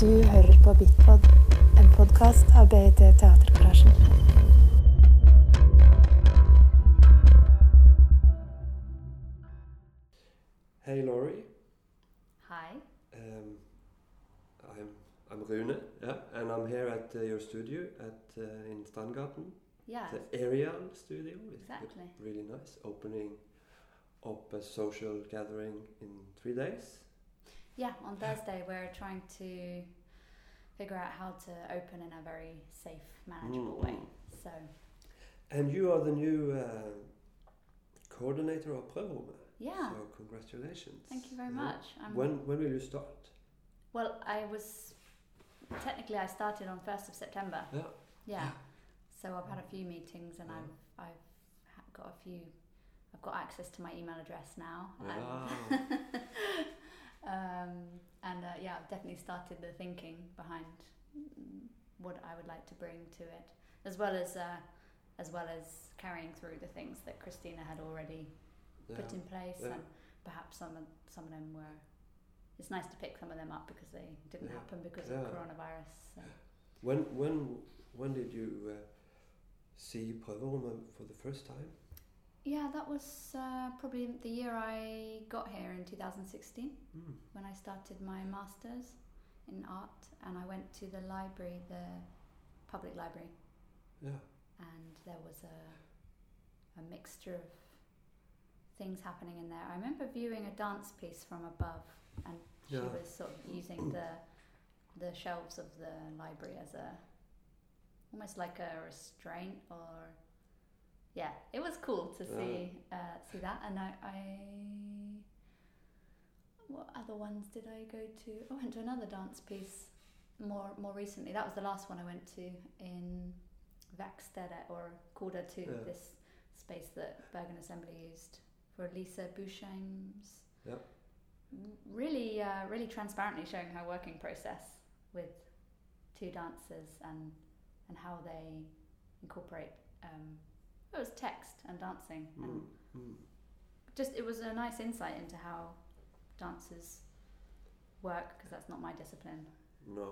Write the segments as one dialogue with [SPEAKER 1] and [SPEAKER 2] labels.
[SPEAKER 1] Du hører på Bitpod, en podkast av BIT Teatergarasjen.
[SPEAKER 2] Hey Laurie,
[SPEAKER 3] Hi.
[SPEAKER 2] um, I'm I'm Rune, yeah, and I'm here at uh, your studio at uh, in Stangarten,
[SPEAKER 3] Yeah,
[SPEAKER 2] the Aerial Studio. It's re-
[SPEAKER 3] exactly.
[SPEAKER 2] Really nice, opening up a social gathering in three days.
[SPEAKER 3] Yeah, on Thursday we're trying to figure out how to open in a very safe, manageable way.
[SPEAKER 2] Mm.
[SPEAKER 3] So,
[SPEAKER 2] And you are the new uh, coordinator of Prøverommet.
[SPEAKER 3] yeah,
[SPEAKER 2] So congratulations.
[SPEAKER 3] thank you very
[SPEAKER 2] Yeah.
[SPEAKER 3] much. I'm,
[SPEAKER 2] When when will you start?
[SPEAKER 3] well, I was technically I started on 1st of September.
[SPEAKER 2] Yeah.
[SPEAKER 3] Yeah. So I've had a few meetings and
[SPEAKER 2] Yeah.
[SPEAKER 3] I've I've ha- got a few I've got access to my email address now.
[SPEAKER 2] Wow.
[SPEAKER 3] And, um, and uh, yeah, I've definitely started the thinking behind mm, what I would like to bring to it, as well as uh, as well as carrying through the things that Christina had already
[SPEAKER 2] Yeah.
[SPEAKER 3] put in place,
[SPEAKER 2] Yeah.
[SPEAKER 3] and perhaps some of, some of them were. It's nice to pick some of them up because they didn't
[SPEAKER 2] Yeah.
[SPEAKER 3] happen because
[SPEAKER 2] Yeah.
[SPEAKER 3] of coronavirus. So.
[SPEAKER 2] When when when did you uh, see Prøverommet for the first time?
[SPEAKER 3] Yeah, that was uh, probably the year I got here in 2016
[SPEAKER 2] Hmm.
[SPEAKER 3] when I started my master's in art and I went to the library, the public library,
[SPEAKER 2] Yeah.
[SPEAKER 3] and there was a, a mixture of things happening in there. I remember viewing a dance piece from above and
[SPEAKER 2] Yeah.
[SPEAKER 3] she was sort of using the the shelves of the library as a almost like a restraint or yeah it was cool to
[SPEAKER 2] Yeah.
[SPEAKER 3] see uh, see that and I, I what other ones did I go to I went to another dance piece more more recently that was the last one I went to in Verkstedet or Korda 2
[SPEAKER 2] Yeah.
[SPEAKER 3] this space that Bergen Assembly used for Lisa Bouchain's really uh, really transparently showing her working process with two dancers and and how they incorporate um, it was text and dancing and
[SPEAKER 2] Mm, mm.
[SPEAKER 3] just it was a nice insight into how dancers work because that's not my discipline
[SPEAKER 2] No,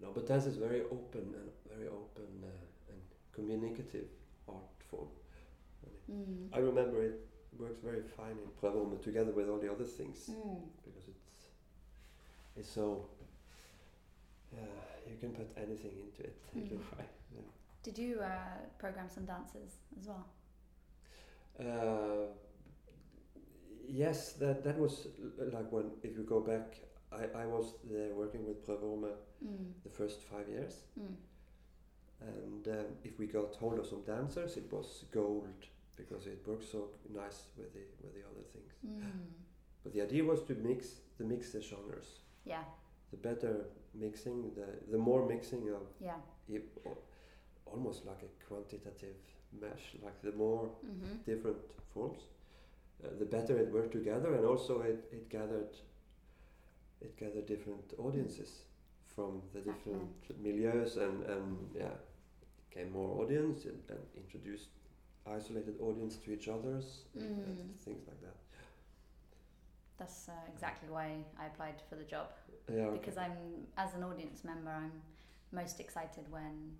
[SPEAKER 2] no, but dance is very open and very open uh, and communicative art form.
[SPEAKER 3] mm.
[SPEAKER 2] I remember it works very fine in Prøverommet together with all the other things
[SPEAKER 3] Mm.
[SPEAKER 2] because it's it's so uh, you can put anything into it. You can
[SPEAKER 3] Mm.
[SPEAKER 2] try. Yeah.
[SPEAKER 3] did you uh, program some dances as well
[SPEAKER 2] Uh, yes, that that was l- like when if you go back, I I was there working with Prøverommet
[SPEAKER 3] mm.
[SPEAKER 2] the first five years.
[SPEAKER 3] Mm.
[SPEAKER 2] And um, if we got hold of some dancers, it was gold because it worked so nice with the with the other things.
[SPEAKER 3] Mm.
[SPEAKER 2] But the idea was to mix the mix the genres.
[SPEAKER 3] yeah
[SPEAKER 2] The better mixing, the the more mixing of
[SPEAKER 3] yeah
[SPEAKER 2] it, al- almost like a quantitative mesh. Like the more
[SPEAKER 3] mm-hmm.
[SPEAKER 2] different forms, uh, the better it worked together, and also it, it gathered it gathered different audiences from the
[SPEAKER 3] Exactly.
[SPEAKER 2] different milieus and, and yeah came more audience and, and introduced isolated audience to each others and, and
[SPEAKER 3] Mm.
[SPEAKER 2] things like that
[SPEAKER 3] that's uh, exactly why I applied for the job
[SPEAKER 2] yeah okay.
[SPEAKER 3] because I'm as an audience member I'm most excited when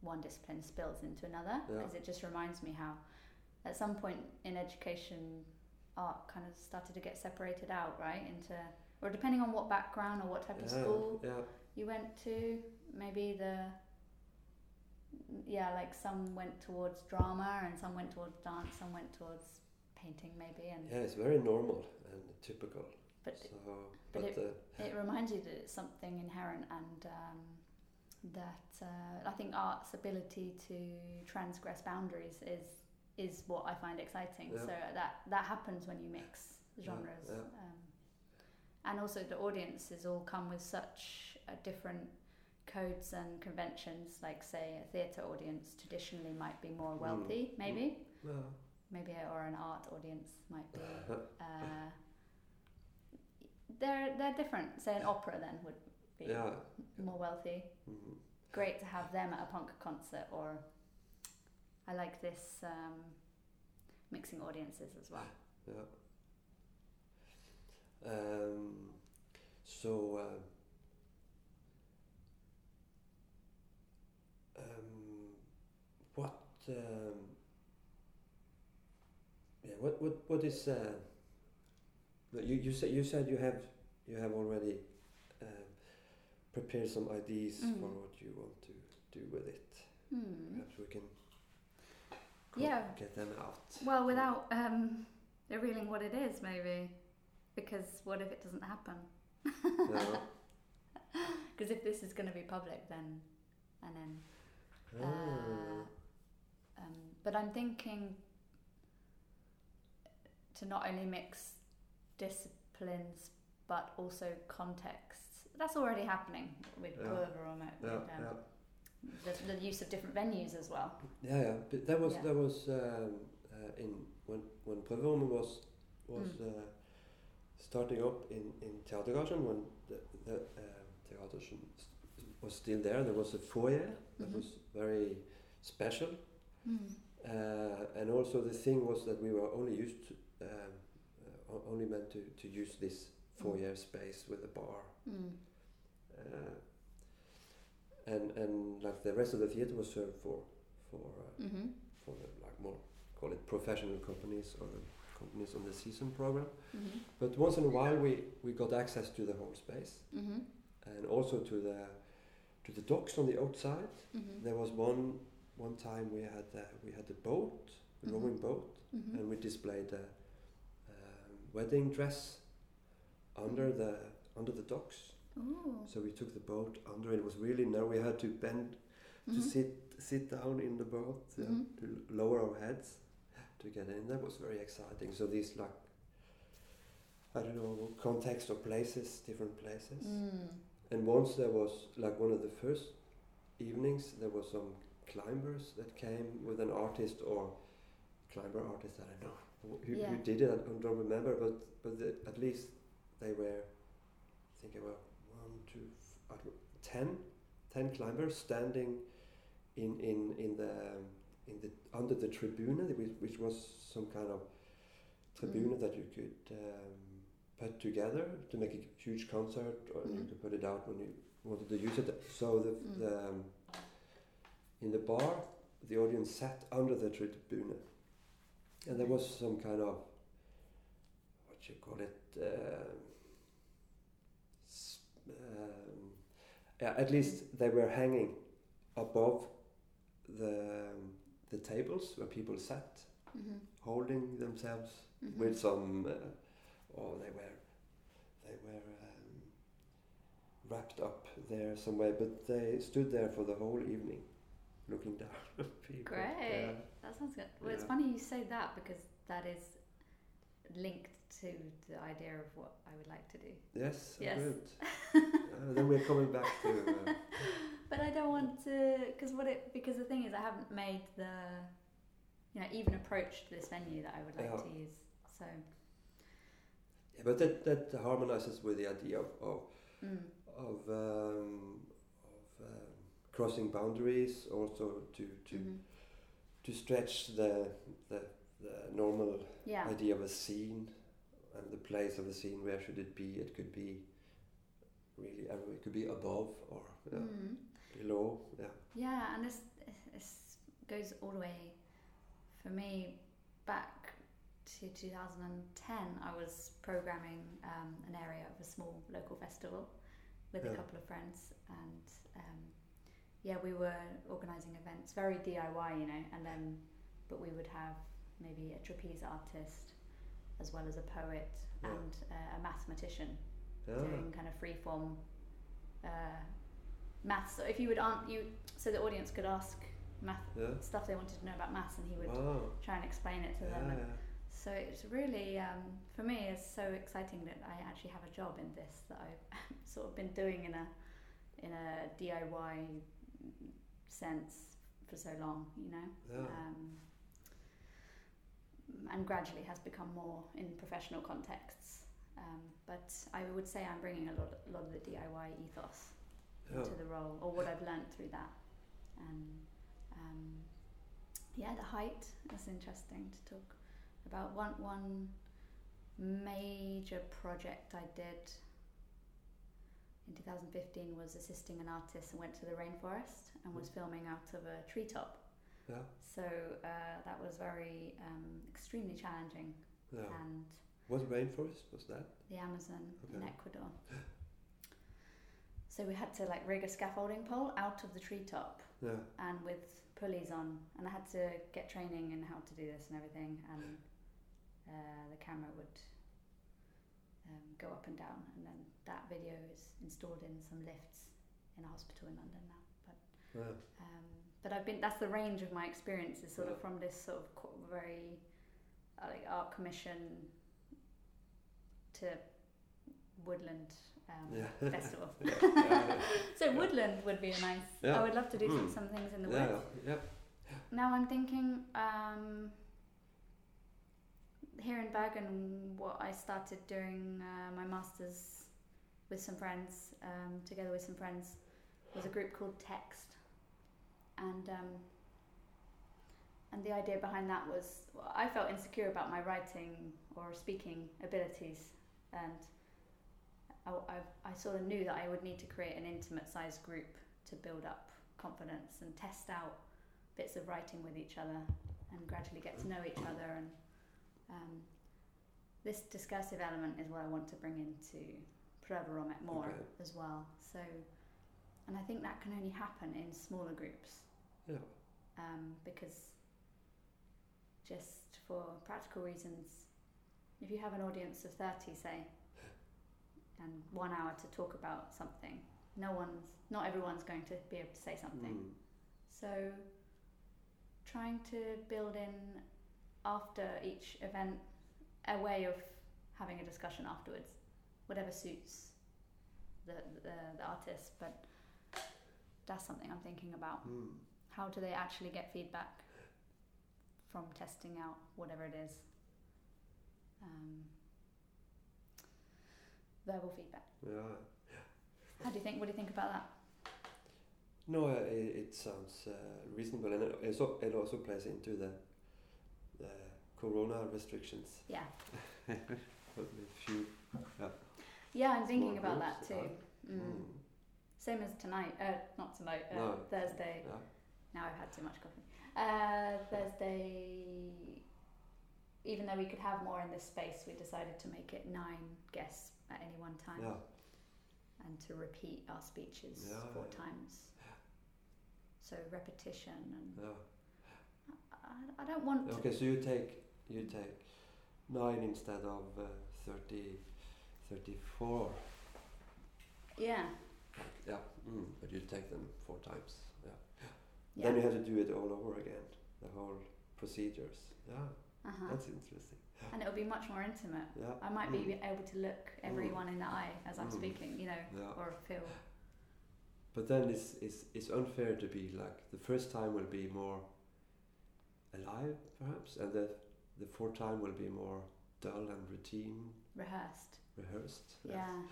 [SPEAKER 3] one discipline spills into another
[SPEAKER 2] Yeah.
[SPEAKER 3] because it just reminds me how at some point in education art kind of started to get separated out right into or depending on what background or what type of
[SPEAKER 2] yeah,
[SPEAKER 3] school
[SPEAKER 2] yeah
[SPEAKER 3] you went to maybe the yeah like some went towards drama and some went towards dance some went towards painting maybe and
[SPEAKER 2] yeah it's very normal and typical
[SPEAKER 3] but
[SPEAKER 2] so
[SPEAKER 3] but
[SPEAKER 2] but,
[SPEAKER 3] it-
[SPEAKER 2] uh,
[SPEAKER 3] it reminds you that it's something inherent and um, that uh, I think art's ability to transgress boundaries is is what I find exciting.
[SPEAKER 2] Yeah.
[SPEAKER 3] So that that happens when you mix
[SPEAKER 2] Yeah,
[SPEAKER 3] genres,
[SPEAKER 2] yeah.
[SPEAKER 3] Um, and also the audiences all come with such uh, different codes and conventions. Like say a theatre audience traditionally might be more
[SPEAKER 2] Mm,
[SPEAKER 3] wealthy,
[SPEAKER 2] mm.
[SPEAKER 3] maybe
[SPEAKER 2] well,
[SPEAKER 3] maybe or an art audience might be uh, they're they're different. Say an opera then would be
[SPEAKER 2] yeah
[SPEAKER 3] more wealthy.
[SPEAKER 2] mm,
[SPEAKER 3] Great to have them at a punk concert or I like this um, mixing audiences as well.
[SPEAKER 2] Um, So um, um, what um, yeah what what what is uh, that you you said you said you have you have already um, prepared some ideas
[SPEAKER 3] Mm.
[SPEAKER 2] for what you want to do with it.
[SPEAKER 3] Hmm.
[SPEAKER 2] Perhaps we can co-
[SPEAKER 3] Yeah.
[SPEAKER 2] get them out.
[SPEAKER 3] Well, without um, revealing what it is, maybe. Because what if it doesn't happen?
[SPEAKER 2] No.
[SPEAKER 3] Because if this is going to be public, then. And then.
[SPEAKER 2] Ah.
[SPEAKER 3] Uh, um, but I'm thinking to not only mix disciplines but also contexts. That's already happening with
[SPEAKER 2] Yeah.
[SPEAKER 3] Pulver or Met-
[SPEAKER 2] yeah,
[SPEAKER 3] with,
[SPEAKER 2] yeah.
[SPEAKER 3] um, The, the use of different venues as well.
[SPEAKER 2] Yeah, yeah. But that was
[SPEAKER 3] Yeah.
[SPEAKER 2] that was um, uh, in when when Prevome was was uh, starting up in in Theatergarten when the the um Theatergarten was still there. There was a foyer that
[SPEAKER 3] Mhm.
[SPEAKER 2] was very special,
[SPEAKER 3] Hmm.
[SPEAKER 2] uh, and also the thing was that we were only used to, um, uh, o- only meant to to use this foyer space with a bar
[SPEAKER 3] Mm.
[SPEAKER 2] uh, and and like the rest of the theater was served for for uh,
[SPEAKER 3] Mm-hmm.
[SPEAKER 2] for the like more call it professional companies or companies on the season program.
[SPEAKER 3] Mm-hmm.
[SPEAKER 2] But once in a while we we got access to the whole space
[SPEAKER 3] Mm-hmm.
[SPEAKER 2] and also to the to the docks on the outside.
[SPEAKER 3] Mm-hmm.
[SPEAKER 2] There was one one time we had uh, we had a boat, a
[SPEAKER 3] Mhm.
[SPEAKER 2] rowing boat,
[SPEAKER 3] Mm-hmm.
[SPEAKER 2] and we displayed a um, wedding dress under the under the docks.
[SPEAKER 3] Ooh.
[SPEAKER 2] So we took the boat under. It was really narrow. We had to bend to
[SPEAKER 3] Mhm.
[SPEAKER 2] sit sit down in the boat uh,
[SPEAKER 3] Mhm.
[SPEAKER 2] to l- lower our heads to get in. That was very exciting. So these like I don't know context or places, different places.
[SPEAKER 3] Mm.
[SPEAKER 2] And once there was like one of the first evenings, there was some climbers that came with an artist or climber artist. I don't know who, who-
[SPEAKER 3] Yeah.
[SPEAKER 2] who did it. I don't remember, but but the, at least they were. I think there were one, two, f- I don't know, ten, ten climbers standing in in in the um, in the under the tribuna, which, which was some kind of tribuna that you could um, put together to make a huge concert, or you
[SPEAKER 3] Mhm.
[SPEAKER 2] could put it out when you wanted to use it. So the,
[SPEAKER 3] Mm.
[SPEAKER 2] the um, in the bar, the audience sat under the tribuna, and there was some kind of what you call it. Um, s- um, yeah, at least they were hanging above the um, the tables where people sat,
[SPEAKER 3] Mm-hmm.
[SPEAKER 2] holding themselves
[SPEAKER 3] Mhm.
[SPEAKER 2] with some, uh, or they were they were um, wrapped up there some way, but they stood there for the whole evening, looking down at people.
[SPEAKER 3] Great.
[SPEAKER 2] Yeah.
[SPEAKER 3] That sounds good. Well, it's
[SPEAKER 2] Yeah.
[SPEAKER 3] funny you say that because that is linked to the idea of what I would like to do.
[SPEAKER 2] Yes,
[SPEAKER 3] Yes.
[SPEAKER 2] good. Uh, then we're coming back to. Uh,
[SPEAKER 3] But I don't want to, because what it, because the thing is, I haven't made the, you know, even approached this venue that I would like
[SPEAKER 2] Yeah.
[SPEAKER 3] to use. So,
[SPEAKER 2] yeah, but that, that harmonizes with the idea of, of
[SPEAKER 3] mm,
[SPEAKER 2] of, um, of um, crossing boundaries, also to to,
[SPEAKER 3] mhm.
[SPEAKER 2] to stretch the, the the normal
[SPEAKER 3] yeah,
[SPEAKER 2] idea of a scene and the place of a scene. Where should it be? It could be really everywhere. It could be above or yeah,
[SPEAKER 3] mm.
[SPEAKER 2] below. Yeah.
[SPEAKER 3] yeah, and this this goes all the way for me back to 2010. I was programming um, an area of a small local festival with a
[SPEAKER 2] Yeah.
[SPEAKER 3] couple of friends, and um, yeah, we were organising events, very DIY, you know, and then but we would have maybe a trapeze artist as well as a poet
[SPEAKER 2] Yeah.
[SPEAKER 3] and uh, a mathematician
[SPEAKER 2] Ah,
[SPEAKER 3] doing kind of free form uh, maths. So if you would an- you so the audience could ask math
[SPEAKER 2] yeah.
[SPEAKER 3] stuff they wanted to know about maths, and he would
[SPEAKER 2] Wow.
[SPEAKER 3] try and explain it to
[SPEAKER 2] Yeah,
[SPEAKER 3] them. And
[SPEAKER 2] yeah.
[SPEAKER 3] so it's really um, for me it's so exciting that I actually have a job in this that I've sort of been doing in a in a DIY sense for so long, you know.
[SPEAKER 2] Yeah.
[SPEAKER 3] Um, and gradually has become more in professional contexts. Um, but I would say I'm bringing a lot, a lot of the DIY ethos
[SPEAKER 2] Yeah.
[SPEAKER 3] into the role, or what I've learned through that. And um, yeah, the height is interesting to talk about. One one major project I did 2015 was assisting an artist and went to the rainforest and was
[SPEAKER 2] Mm.
[SPEAKER 3] filming out of a treetop.
[SPEAKER 2] Yeah.
[SPEAKER 3] So uh, that was very um, extremely challenging
[SPEAKER 2] Yeah.
[SPEAKER 3] and
[SPEAKER 2] What rainforest was that?
[SPEAKER 3] the Amazon in
[SPEAKER 2] Okay.
[SPEAKER 3] Ecuador. So we had to like rig a scaffolding pole out of the treetop
[SPEAKER 2] Yeah.
[SPEAKER 3] and with pulleys on, and I had to get training in how to do this and everything, and uh, the camera would um, go up and down, and then that video is installed in some lifts in a hospital in London now. But
[SPEAKER 2] Yeah.
[SPEAKER 3] um, but I've been that's the range of my experience is sort of
[SPEAKER 2] Yeah.
[SPEAKER 3] from this sort of co- very uh, like art commission to woodland um,
[SPEAKER 2] Yeah.
[SPEAKER 3] festival.
[SPEAKER 2] Yeah, yeah,
[SPEAKER 3] so
[SPEAKER 2] yeah.
[SPEAKER 3] woodland would be a nice.
[SPEAKER 2] Yeah.
[SPEAKER 3] I would love to do some,
[SPEAKER 2] Mm.
[SPEAKER 3] some things in the woods.
[SPEAKER 2] Yeah. Yeah.
[SPEAKER 3] Now I'm thinking um, here in Bergen, what I started doing uh, my masters with some friends, um, together with some friends, was a group called Text, and um, and the idea behind that was well, I felt insecure about my writing or speaking abilities, and I, I, I sort of knew that I would need to create an intimate sized group to build up confidence and test out bits of writing with each other and gradually get to know each other and um, this discursive element is what I want to bring into Prøveromet more
[SPEAKER 2] Okay.
[SPEAKER 3] as well so and I think that can only happen in smaller groups
[SPEAKER 2] Yeah.
[SPEAKER 3] um, because just for practical reasons, if you have an audience of 30, say, and one hour to talk about something, no one's, not everyone's going to be able to say something.
[SPEAKER 2] Mm.
[SPEAKER 3] So, trying to build in after each event a way of having a discussion afterwards, whatever suits the, the, the artist, but that's something I'm thinking about
[SPEAKER 2] Mm.
[SPEAKER 3] how do they actually get feedback from testing out whatever it is? Um, verbal feedback.
[SPEAKER 2] Yeah.
[SPEAKER 3] How do you think? What do you think about that?
[SPEAKER 2] No, uh, i- it sounds uh, reasonable, and it also it also plays into the the corona restrictions.
[SPEAKER 3] Yeah,
[SPEAKER 2] But with few.
[SPEAKER 3] yeah, I'm thinking
[SPEAKER 2] Small
[SPEAKER 3] about that
[SPEAKER 2] groups,
[SPEAKER 3] too. Mm.
[SPEAKER 2] Mm.
[SPEAKER 3] Same as tonight. Uh, not tonight. Uh,
[SPEAKER 2] No.
[SPEAKER 3] Thursday.
[SPEAKER 2] Yeah.
[SPEAKER 3] Now I've had too much coffee. Uh, Thursday. Even though we could have more in this space, we decided to make it nine guests at any one time.
[SPEAKER 2] Yeah.
[SPEAKER 3] and to repeat our speeches
[SPEAKER 2] Yeah,
[SPEAKER 3] four
[SPEAKER 2] yeah.
[SPEAKER 3] times. So repetition, and
[SPEAKER 2] Yeah.
[SPEAKER 3] I, I don't want
[SPEAKER 2] Okay, so you take you take nine instead of uh, 30, 34.
[SPEAKER 3] to. Yeah,
[SPEAKER 2] Yeah, mm, but you take them four times. Yeah.
[SPEAKER 3] yeah.
[SPEAKER 2] Then you have to do it all over again, the whole procedures. Yeah,
[SPEAKER 3] uh-huh.
[SPEAKER 2] that's interesting.
[SPEAKER 3] and it'll be much more intimate.
[SPEAKER 2] Yeah.
[SPEAKER 3] I might be
[SPEAKER 2] mm,
[SPEAKER 3] able to look everyone in the eye as I'm
[SPEAKER 2] Mm.
[SPEAKER 3] speaking, you know,
[SPEAKER 2] Yeah.
[SPEAKER 3] or feel.
[SPEAKER 2] But then it's, it's it's unfair to be like the first time will be more alive perhaps, and the the fourth time will be more dull and routine
[SPEAKER 3] rehearsed.
[SPEAKER 2] rehearsed.
[SPEAKER 3] Yeah,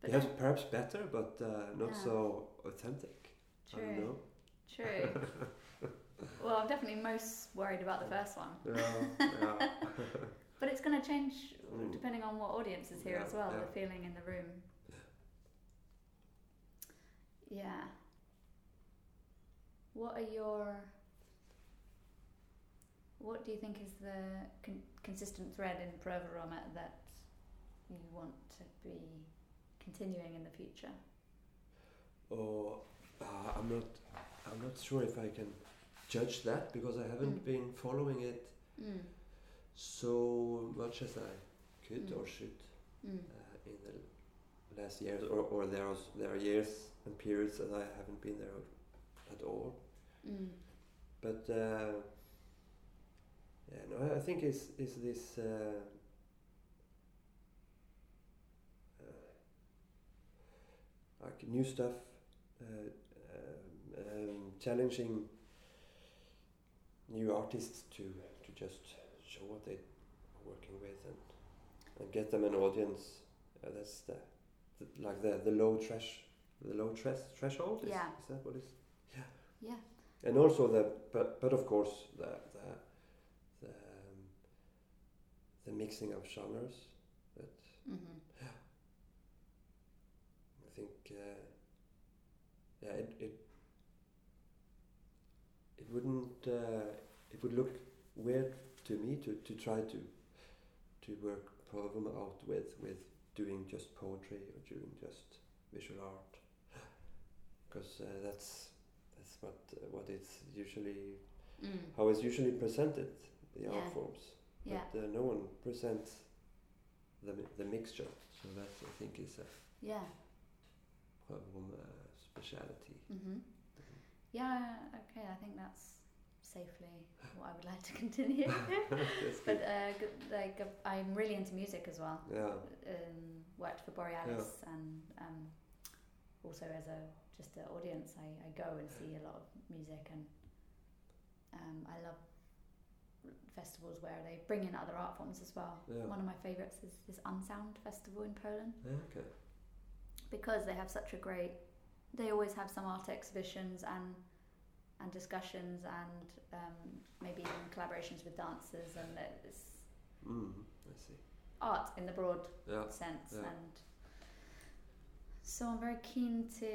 [SPEAKER 3] but
[SPEAKER 2] yes,
[SPEAKER 3] then-
[SPEAKER 2] perhaps better, but uh, not
[SPEAKER 3] Yeah.
[SPEAKER 2] so authentic. I don't
[SPEAKER 3] true,
[SPEAKER 2] know.
[SPEAKER 3] true. well, I'm definitely most worried about the first one,
[SPEAKER 2] Yeah, yeah.
[SPEAKER 3] but it's going to change
[SPEAKER 2] Mm.
[SPEAKER 3] depending on what audience is here
[SPEAKER 2] Yeah,
[SPEAKER 3] as well.
[SPEAKER 2] yeah.
[SPEAKER 3] The feeling in the room. Yeah. What are your? What do you think is the con- consistent thread in Proveroma that you want to be continuing in the future?
[SPEAKER 2] or uh, I'm not I'm not sure if I can judge that because I haven't
[SPEAKER 3] Mm.
[SPEAKER 2] been following it
[SPEAKER 3] Mm.
[SPEAKER 2] so much as I could
[SPEAKER 3] Mm.
[SPEAKER 2] or should
[SPEAKER 3] Mm.
[SPEAKER 2] uh, in the last years or, or there are there are years and periods that I haven't been there at all
[SPEAKER 3] Mm.
[SPEAKER 2] but uh, yeah, no, I- I think it's is this uh, uh, like new stuff, uh, um, um, challenging new artists to to just show what they are working with and and get them an audience. Uh, that's the, the like the the low trash the low trash threshold. Is,
[SPEAKER 3] Yeah.
[SPEAKER 2] is that what it's
[SPEAKER 3] Yeah.
[SPEAKER 2] and also the but but of course the the the, um, the mixing of genres that
[SPEAKER 3] Mm-hmm.
[SPEAKER 2] I think uh, yeah it, it it wouldn't uh, it would look weird to me to, to try to to work problem out with with doing just poetry or doing just visual art because uh, that's that's what uh, what it's usually
[SPEAKER 3] Mm.
[SPEAKER 2] how it's usually presented the
[SPEAKER 3] Yeah.
[SPEAKER 2] art forms
[SPEAKER 3] Yeah.
[SPEAKER 2] but uh, no one presents the, mi- the mixture so that I think is a
[SPEAKER 3] Yeah.
[SPEAKER 2] problem uh, speciality
[SPEAKER 3] hmm Yeah. Okay. I think that's safely what I would like to continue.
[SPEAKER 2] That's good.
[SPEAKER 3] but uh, g- like uh, I'm really into music as well.
[SPEAKER 2] yeah
[SPEAKER 3] Um, worked for Borealis and um, also as a just an audience, I, I go and see a lot of music and um, I love festivals where they bring in other art forms as well.
[SPEAKER 2] Yeah.
[SPEAKER 3] One of my favorites is this Unsound Festival in Poland
[SPEAKER 2] Yeah, okay
[SPEAKER 3] because they have such a great they always have some art exhibitions and and discussions and um, maybe even collaborations with dancers and it's
[SPEAKER 2] mm, I see
[SPEAKER 3] art in the broad
[SPEAKER 2] yeah
[SPEAKER 3] sense
[SPEAKER 2] Yeah.
[SPEAKER 3] and so I'm very keen to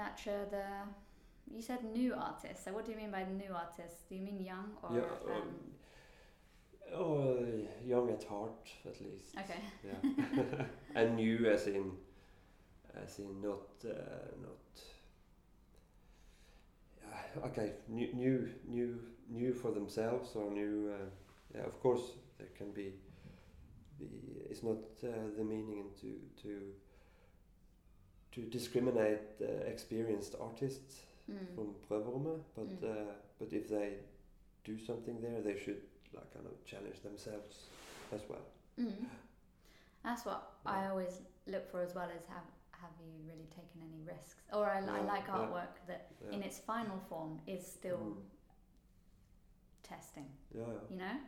[SPEAKER 3] nurture the you said new artists so what do you mean by new artists do you mean young or
[SPEAKER 2] yeah
[SPEAKER 3] um,
[SPEAKER 2] um, oh young at heart at least
[SPEAKER 3] okay
[SPEAKER 2] yeah and new as in as in not uh, not uh, okay new new new new for themselves or new uh, yeah of course there can be the it's not uh, the meaning and to to to discriminate uh, experienced artists
[SPEAKER 3] mm.
[SPEAKER 2] from Brødrene, but
[SPEAKER 3] Mm.
[SPEAKER 2] uh, but if they do something there they should like kind of challenge themselves as well
[SPEAKER 3] Mm. That's what I
[SPEAKER 2] Yeah.
[SPEAKER 3] always look for as well is have have you really taken any risks? Or I, I
[SPEAKER 2] Yeah,
[SPEAKER 3] like
[SPEAKER 2] yeah.
[SPEAKER 3] artwork that
[SPEAKER 2] yeah
[SPEAKER 3] in its final form is still
[SPEAKER 2] Mm.
[SPEAKER 3] testing,
[SPEAKER 2] yeah, yeah.
[SPEAKER 3] you know?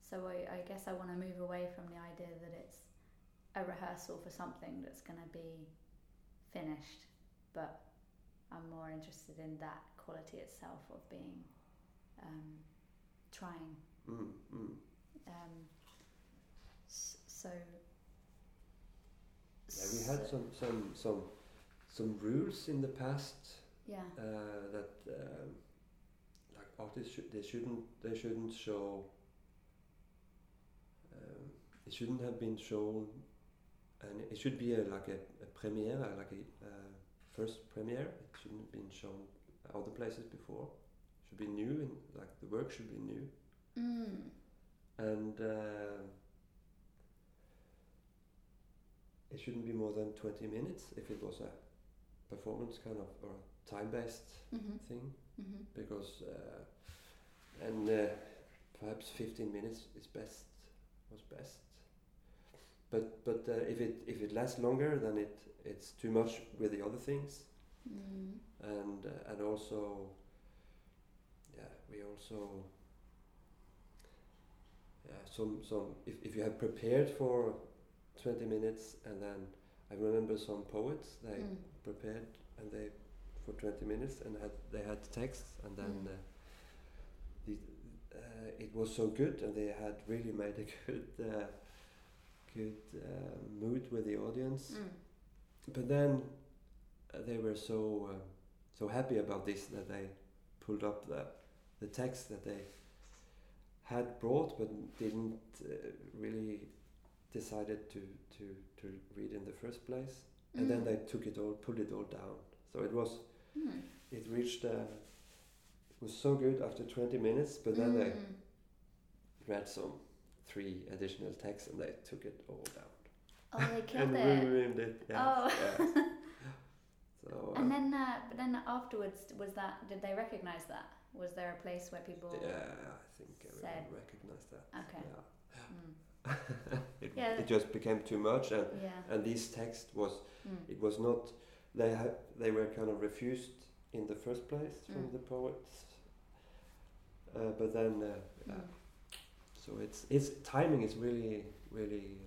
[SPEAKER 3] So I, I guess I want to move away from the idea that it's a rehearsal for something that's going to be finished, but I'm more interested in that quality itself of being um, trying.
[SPEAKER 2] Mm, mm.
[SPEAKER 3] Um, s- so.
[SPEAKER 2] Yeah, we had
[SPEAKER 3] so-
[SPEAKER 2] some some some some rules in the past
[SPEAKER 3] Yeah.
[SPEAKER 2] uh, that um, like artists should they shouldn't they shouldn't show um, it shouldn't have been shown and it should be a, like a, a premiere uh, like a uh, first premiere it shouldn't have been shown other places before should be new and like the work should be new
[SPEAKER 3] Mm.
[SPEAKER 2] and uh, it shouldn't be more than 20 minutes if it was a performance kind of or a time-based
[SPEAKER 3] Mm-hmm.
[SPEAKER 2] thing
[SPEAKER 3] Mm-hmm.
[SPEAKER 2] because uh, and uh, perhaps 15 minutes is best was best but but uh, if it if it lasts longer then it it's too much with the other things
[SPEAKER 3] Mm.
[SPEAKER 2] and uh, and also yeah we also yeah some some if, if you have prepared for 20 minutes and then i remember some poets they
[SPEAKER 3] Mm.
[SPEAKER 2] prepared and they for 20 minutes and had they had texts and then
[SPEAKER 3] Mm.
[SPEAKER 2] uh, the, uh, it was so good and they had really made a good uh, good uh, mood with the audience
[SPEAKER 3] Mm.
[SPEAKER 2] but then uh, they were so uh, so happy about this that they pulled up the the text that they had brought but didn't uh, really decided to to to read in the first place and then
[SPEAKER 3] Mm.
[SPEAKER 2] they took it all pulled it all down so it was
[SPEAKER 3] Mm.
[SPEAKER 2] it reached uh, it was so good after 20 minutes but then they
[SPEAKER 3] Mm.
[SPEAKER 2] read some three additional texts and they took it all down
[SPEAKER 3] Oh, they killed
[SPEAKER 2] and
[SPEAKER 3] it.
[SPEAKER 2] ruined it yes,
[SPEAKER 3] Oh.
[SPEAKER 2] yes. so
[SPEAKER 3] And
[SPEAKER 2] uh,
[SPEAKER 3] then, uh, but then afterwards, was that? Did they recognize that? Was there a place where people?
[SPEAKER 2] Yeah, I think everyone
[SPEAKER 3] Said.
[SPEAKER 2] recognized that.
[SPEAKER 3] Okay.
[SPEAKER 2] Yeah.
[SPEAKER 3] Mm.
[SPEAKER 2] it,
[SPEAKER 3] Yeah.
[SPEAKER 2] it just became too much, and
[SPEAKER 3] Yeah.
[SPEAKER 2] and this text was
[SPEAKER 3] Mm.
[SPEAKER 2] it was not they ha- they were kind of refused in the first place from
[SPEAKER 3] Mm.
[SPEAKER 2] the poets, uh, but then uh, yeah.
[SPEAKER 3] Mm.
[SPEAKER 2] so it's it's timing is really really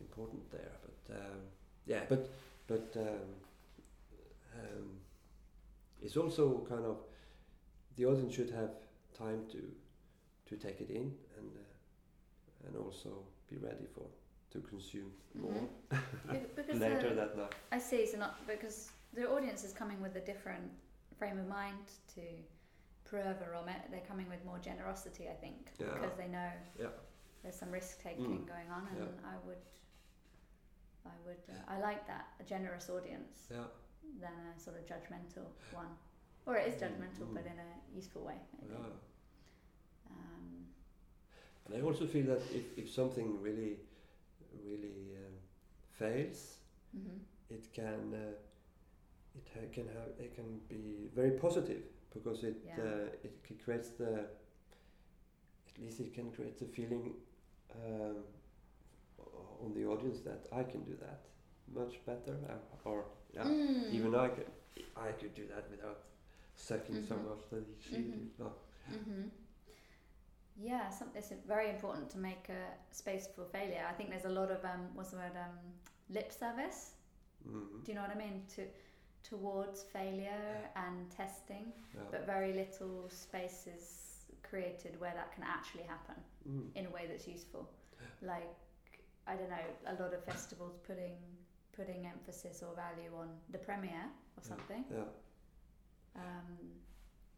[SPEAKER 2] important there, but um, yeah, but but um, um, it's also kind of the audience should have time to to take it in and uh, and also be ready for to consume more.
[SPEAKER 3] Mhm. Be- Mm-hmm. because it's
[SPEAKER 2] later
[SPEAKER 3] a-
[SPEAKER 2] that night.
[SPEAKER 3] I see. So not because the audience is coming with a different frame of mind to Prova or Met. They're coming with more generosity, I think,
[SPEAKER 2] Yeah.
[SPEAKER 3] because they know
[SPEAKER 2] Yeah.
[SPEAKER 3] there's some risk taking
[SPEAKER 2] Mm.
[SPEAKER 3] going on, and
[SPEAKER 2] Yeah.
[SPEAKER 3] I would, I would, uh, I like that a generous audience
[SPEAKER 2] Yeah,
[SPEAKER 3] than a sort of judgmental one, or it is judgmental,
[SPEAKER 2] Mm,
[SPEAKER 3] but
[SPEAKER 2] mm.
[SPEAKER 3] in a useful way. Maybe.
[SPEAKER 2] yeah.
[SPEAKER 3] Um,
[SPEAKER 2] And I also feel that if, if something really, really um, fails,
[SPEAKER 3] mhm.
[SPEAKER 2] it can uh, it ha- can have it can be very positive because it
[SPEAKER 3] Yeah.
[SPEAKER 2] uh, it c- creates the at least it can create the feeling um, o- on the audience that I can do that much better uh, or yeah,
[SPEAKER 3] Mm.
[SPEAKER 2] even I could I could do that without sucking so
[SPEAKER 3] Mhm.
[SPEAKER 2] much that she
[SPEAKER 3] Mhm.
[SPEAKER 2] did. No.
[SPEAKER 3] hmm Yeah, some, it's very important to make a space for failure. I think there's a lot of um, what's the word um, lip service.
[SPEAKER 2] Mhm.
[SPEAKER 3] Do you know what I mean? To towards failure and testing,
[SPEAKER 2] Yeah.
[SPEAKER 3] but very little space is created where that can actually happen
[SPEAKER 2] Mm.
[SPEAKER 3] in a way that's useful. Like I don't know, a lot of festivals putting putting emphasis or value on the premiere or
[SPEAKER 2] Yeah.
[SPEAKER 3] something
[SPEAKER 2] Yeah. Mm.
[SPEAKER 3] um,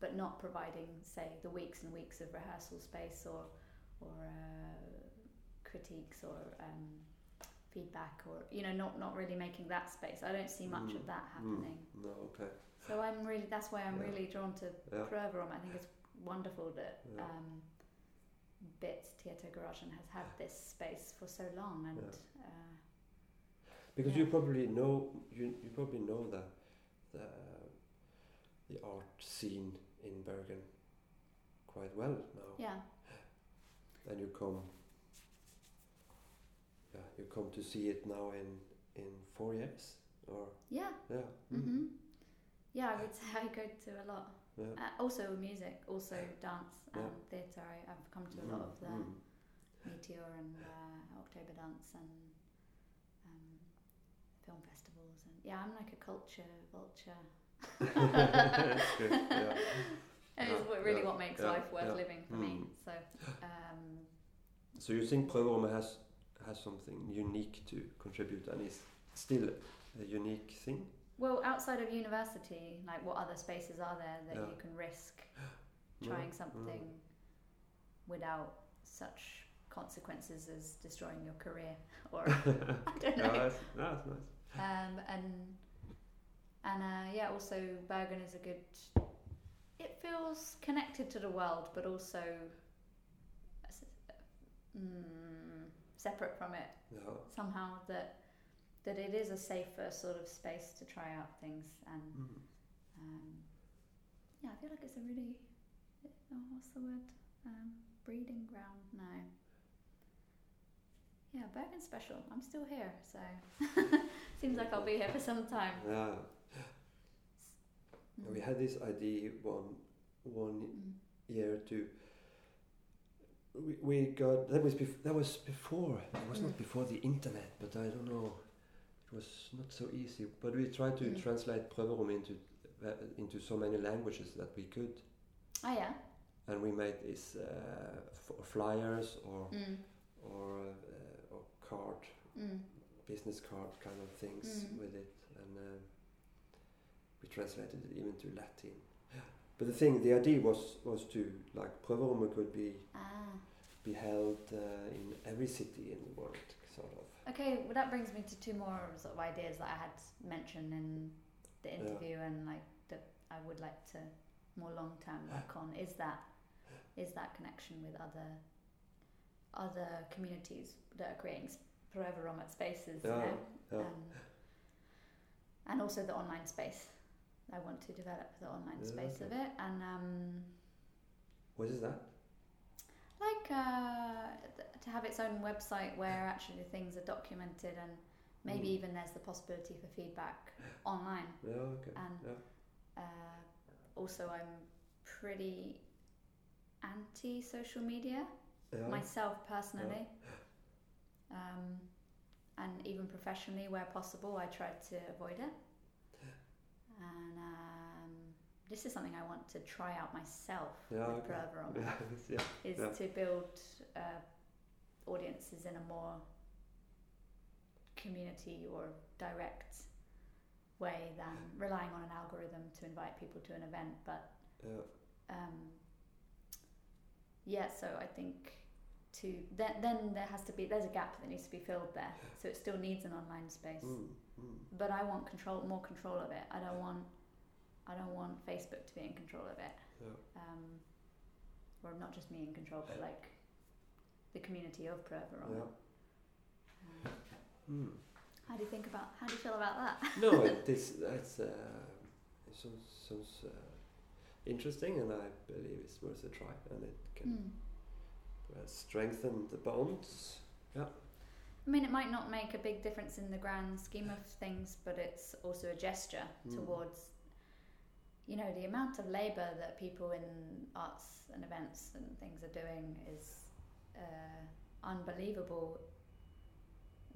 [SPEAKER 3] but not providing, say, the weeks and weeks of rehearsal space or or uh, critiques or um, feedback or you know not not really making that space. I don't see much
[SPEAKER 2] Mm,
[SPEAKER 3] of that
[SPEAKER 2] mm.
[SPEAKER 3] happening.
[SPEAKER 2] No. Okay.
[SPEAKER 3] So I'm really that's why I'm
[SPEAKER 2] Yeah.
[SPEAKER 3] really drawn to
[SPEAKER 2] Yeah.
[SPEAKER 3] Proverum. I think it's wonderful that.
[SPEAKER 2] Yeah.
[SPEAKER 3] Um, Bit Theatre Garagen has had this space for so long, and uh,
[SPEAKER 2] Because
[SPEAKER 3] Yeah.
[SPEAKER 2] you probably know you, you probably know the the the art scene in Bergen quite well now,
[SPEAKER 3] yeah,
[SPEAKER 2] and you come yeah you come to see it now in in four years or
[SPEAKER 3] yeah,
[SPEAKER 2] yeah mm,
[SPEAKER 3] hmm Yeah, I would say I go to a lot.
[SPEAKER 2] Yeah.
[SPEAKER 3] Uh, also music, also dance and
[SPEAKER 2] Yeah.
[SPEAKER 3] theatre. I, I've come to a lot
[SPEAKER 2] mm,
[SPEAKER 3] of the
[SPEAKER 2] mm.
[SPEAKER 3] Meteor and uh, October Dance and um, film festivals. And yeah, I'm like a culture vulture.
[SPEAKER 2] That's good, yeah.
[SPEAKER 3] And it's
[SPEAKER 2] Yeah,
[SPEAKER 3] what, really
[SPEAKER 2] yeah,
[SPEAKER 3] what makes
[SPEAKER 2] yeah,
[SPEAKER 3] life worth
[SPEAKER 2] yeah.
[SPEAKER 3] living for me.
[SPEAKER 2] Mm.
[SPEAKER 3] So um,
[SPEAKER 2] So you think Prøverommet has has something unique to contribute and is still a unique thing?
[SPEAKER 3] Well, outside of university, like what other spaces are there that
[SPEAKER 2] Yeah.
[SPEAKER 3] you can risk
[SPEAKER 2] Yeah,
[SPEAKER 3] trying something without such consequences as destroying your career or I don't
[SPEAKER 2] Yeah,
[SPEAKER 3] know.
[SPEAKER 2] that's, that's nice.
[SPEAKER 3] Um, and and uh, yeah, also Bergen is a good. It feels connected to the world, but also s- mm, separate from it
[SPEAKER 2] Yeah.
[SPEAKER 3] somehow. That that it is a safer sort of space to try out things and
[SPEAKER 2] Mm.
[SPEAKER 3] um, yeah, I feel like it's a really oh, what's the word? Um, breeding ground. No. Yeah, Bergen's special. I'm still here, so seems like I'll be here for some time.
[SPEAKER 2] Yeah,
[SPEAKER 3] Mm.
[SPEAKER 2] we had this idea one one
[SPEAKER 3] Mm.
[SPEAKER 2] year to. We, we got that was bef- that was before it was not
[SPEAKER 3] Mm.
[SPEAKER 2] before the internet, but I don't know, it was not so easy. But we tried to
[SPEAKER 3] Mm.
[SPEAKER 2] translate Prøverum into uh, into so many languages that we could,
[SPEAKER 3] Oh yeah.
[SPEAKER 2] and we made these uh, f- flyers or
[SPEAKER 3] Mm.
[SPEAKER 2] or uh, or card
[SPEAKER 3] Mm.
[SPEAKER 2] business card kind of things
[SPEAKER 3] Mm.
[SPEAKER 2] with it, and um we translated it even to Latin. But the thing, the idea was was to like Prøverommet could be
[SPEAKER 3] Ah.
[SPEAKER 2] be held uh, in every city in the world, sort of.
[SPEAKER 3] Okay. Well, that brings me to two more sort of ideas that I had mentioned in the interview and like that I would like to more long term work on. Is that is that connection with other other communities that are creating s- forever remote spaces, you
[SPEAKER 2] Yeah,
[SPEAKER 3] know?
[SPEAKER 2] yeah.
[SPEAKER 3] Um, and also the online space. I want to develop the online
[SPEAKER 2] Yeah,
[SPEAKER 3] space
[SPEAKER 2] okay.
[SPEAKER 3] of it, and um,
[SPEAKER 2] What is that?
[SPEAKER 3] like uh, th- to have its own website where actually things are documented, and maybe
[SPEAKER 2] Mm.
[SPEAKER 3] even there's the possibility for feedback online.
[SPEAKER 2] Yeah, okay.
[SPEAKER 3] And
[SPEAKER 2] Yeah.
[SPEAKER 3] uh, also, I'm pretty anti social media
[SPEAKER 2] Yeah.
[SPEAKER 3] myself personally. Um, and even professionally, where possible, I try to avoid it. And um, this is something I want to try out myself
[SPEAKER 2] Yeah,
[SPEAKER 3] with
[SPEAKER 2] okay.
[SPEAKER 3] Proverum,
[SPEAKER 2] Yes, yeah.
[SPEAKER 3] is
[SPEAKER 2] yeah.
[SPEAKER 3] to build uh, audiences in a more community or direct way than relying on an algorithm to invite people to an event. But
[SPEAKER 2] Yeah.
[SPEAKER 3] um, yeah, so I think to then then there has to be there's a gap that needs to be filled there. So it still needs an online space,
[SPEAKER 2] Mm, mm.
[SPEAKER 3] but I want control more control of it. I don't want I don't want Facebook to be in control of it.
[SPEAKER 2] Yeah.
[SPEAKER 3] Um, or not just me in control, but like the community of Proveron.
[SPEAKER 2] Yeah.
[SPEAKER 3] Um,
[SPEAKER 2] Mm.
[SPEAKER 3] how do you think about how do you feel about that?
[SPEAKER 2] no, it, this that's uh, it sounds, sounds uh, interesting, and I believe it's worth a try, and it can
[SPEAKER 3] Hmm.
[SPEAKER 2] uh, strengthen the bonds.
[SPEAKER 3] I mean, it might not make a big difference in the grand scheme of things, but it's also a gesture
[SPEAKER 2] Mm.
[SPEAKER 3] towards, you know, the amount of labour that people in arts and events and things are doing is uh, unbelievable.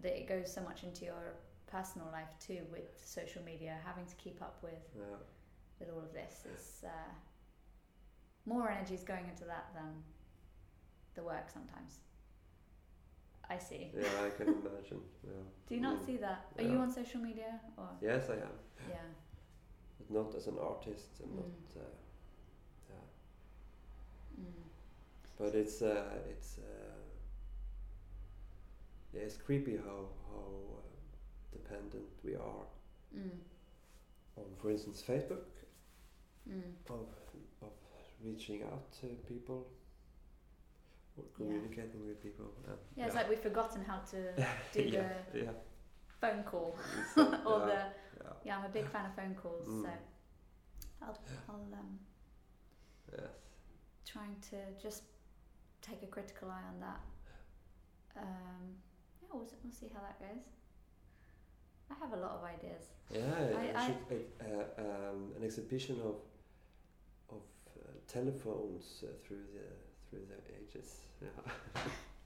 [SPEAKER 3] That it goes so much into your personal life too, with social media, having to keep up with
[SPEAKER 2] Yeah,
[SPEAKER 3] with all of this. It's uh, more energy is going into that than the work sometimes. I see.
[SPEAKER 2] yeah, I can imagine. Yeah.
[SPEAKER 3] Do you not
[SPEAKER 2] Mm.
[SPEAKER 3] see that? Are
[SPEAKER 2] Yeah.
[SPEAKER 3] you on social media or
[SPEAKER 2] Yes, I am,
[SPEAKER 3] yeah?
[SPEAKER 2] but not as an artist, and
[SPEAKER 3] Mm.
[SPEAKER 2] not. Uh, yeah.
[SPEAKER 3] Mm.
[SPEAKER 2] But it's uh, it's uh, yeah, it's creepy how how uh, dependent we are
[SPEAKER 3] Mm.
[SPEAKER 2] on, for instance, Facebook,
[SPEAKER 3] Mm.
[SPEAKER 2] of of reaching out to people or communicating with people. uh,
[SPEAKER 3] Yeah, it's like we've forgotten how to do
[SPEAKER 2] yeah,
[SPEAKER 3] the
[SPEAKER 2] yeah,
[SPEAKER 3] phone call
[SPEAKER 2] it's
[SPEAKER 3] or
[SPEAKER 2] like, yeah,
[SPEAKER 3] the
[SPEAKER 2] yeah,
[SPEAKER 3] yeah. I'm a big fan of phone calls, so
[SPEAKER 2] Mm.
[SPEAKER 3] I'll I'll um,
[SPEAKER 2] yes.
[SPEAKER 3] trying to just take a critical eye on that. Um, yeah, we'll, s- we'll see how that goes. I have a lot of ideas.
[SPEAKER 2] Yeah,
[SPEAKER 3] I-
[SPEAKER 2] it
[SPEAKER 3] I-
[SPEAKER 2] should, it, uh, um, an exhibition of of uh, telephones uh, through the through the ages. Yeah.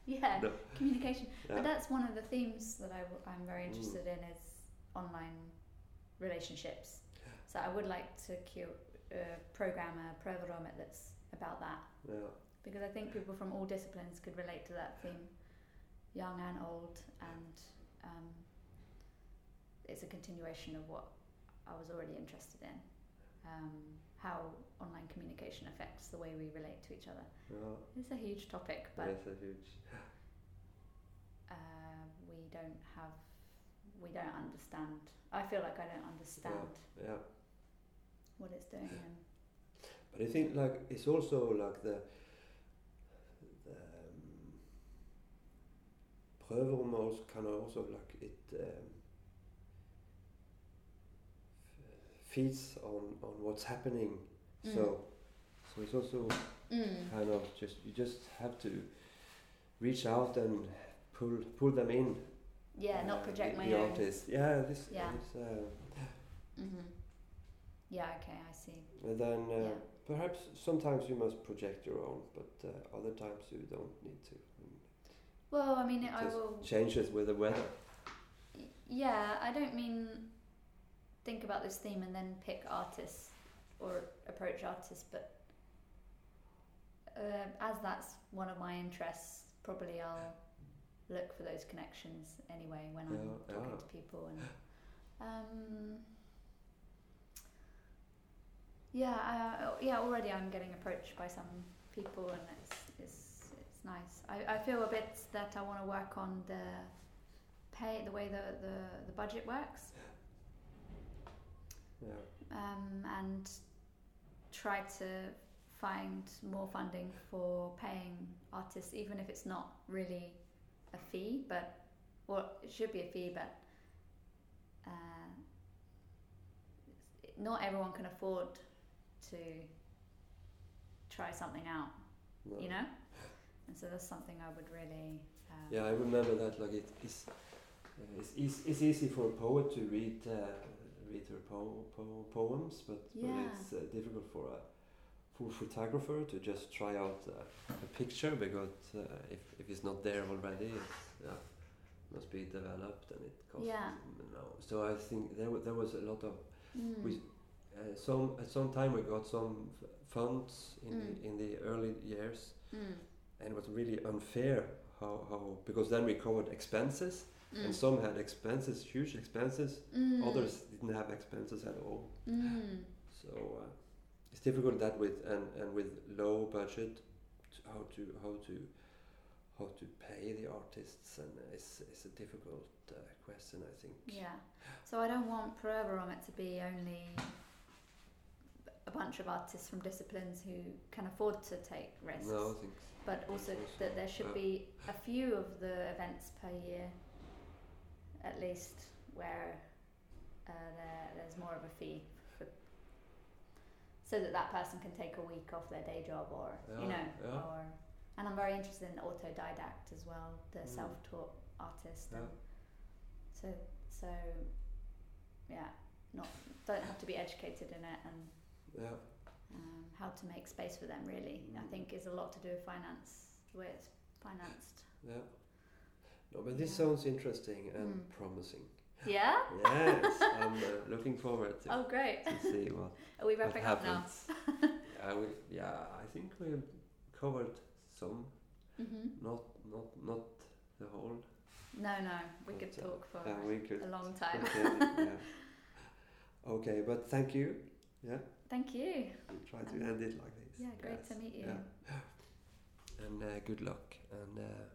[SPEAKER 3] Yeah,
[SPEAKER 2] No.
[SPEAKER 3] communication.
[SPEAKER 2] Yeah. Mm.
[SPEAKER 3] But that's one of the themes that I w- I'm very interested in is online relationships. So I would like to cu- uh, program a program that's about that
[SPEAKER 2] yeah.
[SPEAKER 3] because I think people from all disciplines could relate to that theme, young and old, and um, it's a continuation of what I was already interested in. Um, how online communication affects the way we relate to each other.
[SPEAKER 2] yeah.
[SPEAKER 3] It's a huge topic, but
[SPEAKER 2] That's a huge.
[SPEAKER 3] uh, we don't have we don't understand i feel like i don't understand
[SPEAKER 2] Yeah.
[SPEAKER 3] what it's doing and
[SPEAKER 2] But I think like it's also like the the um, prøverum also kind of also like it um, f- feeds on on what's happening.
[SPEAKER 3] Mm.
[SPEAKER 2] So so it's also
[SPEAKER 3] mm.
[SPEAKER 2] kind of just you just have to reach out and pull pull them in.
[SPEAKER 3] yeah
[SPEAKER 2] uh,
[SPEAKER 3] not project
[SPEAKER 2] the,
[SPEAKER 3] my
[SPEAKER 2] the
[SPEAKER 3] own
[SPEAKER 2] artist. Yeah, this
[SPEAKER 3] Yeah.
[SPEAKER 2] this. Uh,
[SPEAKER 3] hmm yeah okay i see
[SPEAKER 2] And then uh,
[SPEAKER 3] Yeah.
[SPEAKER 2] perhaps sometimes you must project your own, but uh, other times you don't need to. Mm.
[SPEAKER 3] well i mean i
[SPEAKER 2] Just
[SPEAKER 3] will
[SPEAKER 2] Changes with the weather.
[SPEAKER 3] y- yeah i don't mean think about this theme and then pick artists or approach artists but uh, as that's one of my interests probably i'll look for those connections anyway when i'm
[SPEAKER 2] Yeah,
[SPEAKER 3] talking
[SPEAKER 2] yeah.
[SPEAKER 3] to people and um, yeah I, yeah already i'm getting approached by some people and it's it's, it's nice I, I feel a bit that i want to work on the pay the way the, the, the budget works
[SPEAKER 2] Yeah.
[SPEAKER 3] um, and try to find more funding for paying artists, even if it's not really a fee, but well, it should be a fee, but uh, not everyone can afford to try something out,
[SPEAKER 2] No.
[SPEAKER 3] you know. And so that's something I would really. Um,
[SPEAKER 2] Yeah, I remember that. Like it is, uh, it's, it's, it's easy for a poet to read uh, read her po- po- poems, but,
[SPEAKER 3] Yeah.
[SPEAKER 2] but it's uh, difficult for a for a photographer to just try out uh, a picture because uh, if if it's not there already, it's, yeah, must be developed and it costs.
[SPEAKER 3] Yeah.
[SPEAKER 2] No. So I think there wa- there was a lot of
[SPEAKER 3] Mm,
[SPEAKER 2] we- uh, some at some time we got some f- funds in
[SPEAKER 3] Mm.
[SPEAKER 2] the, in the early years
[SPEAKER 3] mm,
[SPEAKER 2] and it was really unfair how, how because then we covered expenses and
[SPEAKER 3] Mm.
[SPEAKER 2] some had expenses, huge expenses.
[SPEAKER 3] Mm.
[SPEAKER 2] Others didn't have expenses at all.
[SPEAKER 3] Mm.
[SPEAKER 2] So uh, it's difficult that with and, and with low budget, to how to how to how to pay the artists and it's it's a difficult uh, question I think.
[SPEAKER 3] Yeah. So I don't want Proverum to be only a bunch of artists from disciplines who can afford to take risks,
[SPEAKER 2] No, I think
[SPEAKER 3] but
[SPEAKER 2] Also,
[SPEAKER 3] also that there should
[SPEAKER 2] yeah.
[SPEAKER 3] be a few of the events per year, at least, where uh, there, there's more of a fee, for, so that that person can take a week off their day job, or you
[SPEAKER 2] Yeah,
[SPEAKER 3] know,
[SPEAKER 2] yeah.
[SPEAKER 3] or. And I'm very interested in autodidact as well, the
[SPEAKER 2] Mm.
[SPEAKER 3] self-taught artist.
[SPEAKER 2] Yeah.
[SPEAKER 3] And so so yeah, not don't have to be educated in it and
[SPEAKER 2] yeah.
[SPEAKER 3] um, how to make space for them really I
[SPEAKER 2] Mm.
[SPEAKER 3] think is a lot to do with finance the way it's financed
[SPEAKER 2] Yeah. No, but this
[SPEAKER 3] Yeah.
[SPEAKER 2] sounds interesting and
[SPEAKER 3] Mm.
[SPEAKER 2] promising.
[SPEAKER 3] yeah
[SPEAKER 2] Yes, I'm uh, looking forward to,
[SPEAKER 3] oh great
[SPEAKER 2] to see what,
[SPEAKER 3] are we
[SPEAKER 2] what
[SPEAKER 3] wrapping up now
[SPEAKER 2] happens. yeah, we, yeah, I think we covered some,
[SPEAKER 3] hmm
[SPEAKER 2] not not not the whole.
[SPEAKER 3] no no we could
[SPEAKER 2] But, uh,
[SPEAKER 3] talk for
[SPEAKER 2] yeah, we could.
[SPEAKER 3] a long time
[SPEAKER 2] Okay, yeah. okay, but thank you.
[SPEAKER 3] thank you
[SPEAKER 2] We try to
[SPEAKER 3] Um,
[SPEAKER 2] end it like this.
[SPEAKER 3] yeah great
[SPEAKER 2] Yes,
[SPEAKER 3] to meet you
[SPEAKER 2] yeah. And uh, good luck and uh,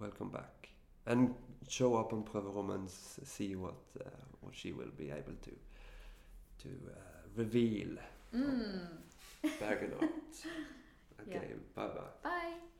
[SPEAKER 2] welcome back. And show up on Prøverom and s- see what uh, what she will be able to to uh, reveal
[SPEAKER 3] mm.
[SPEAKER 2] Bergen Art. Okay, bye bye.
[SPEAKER 3] bye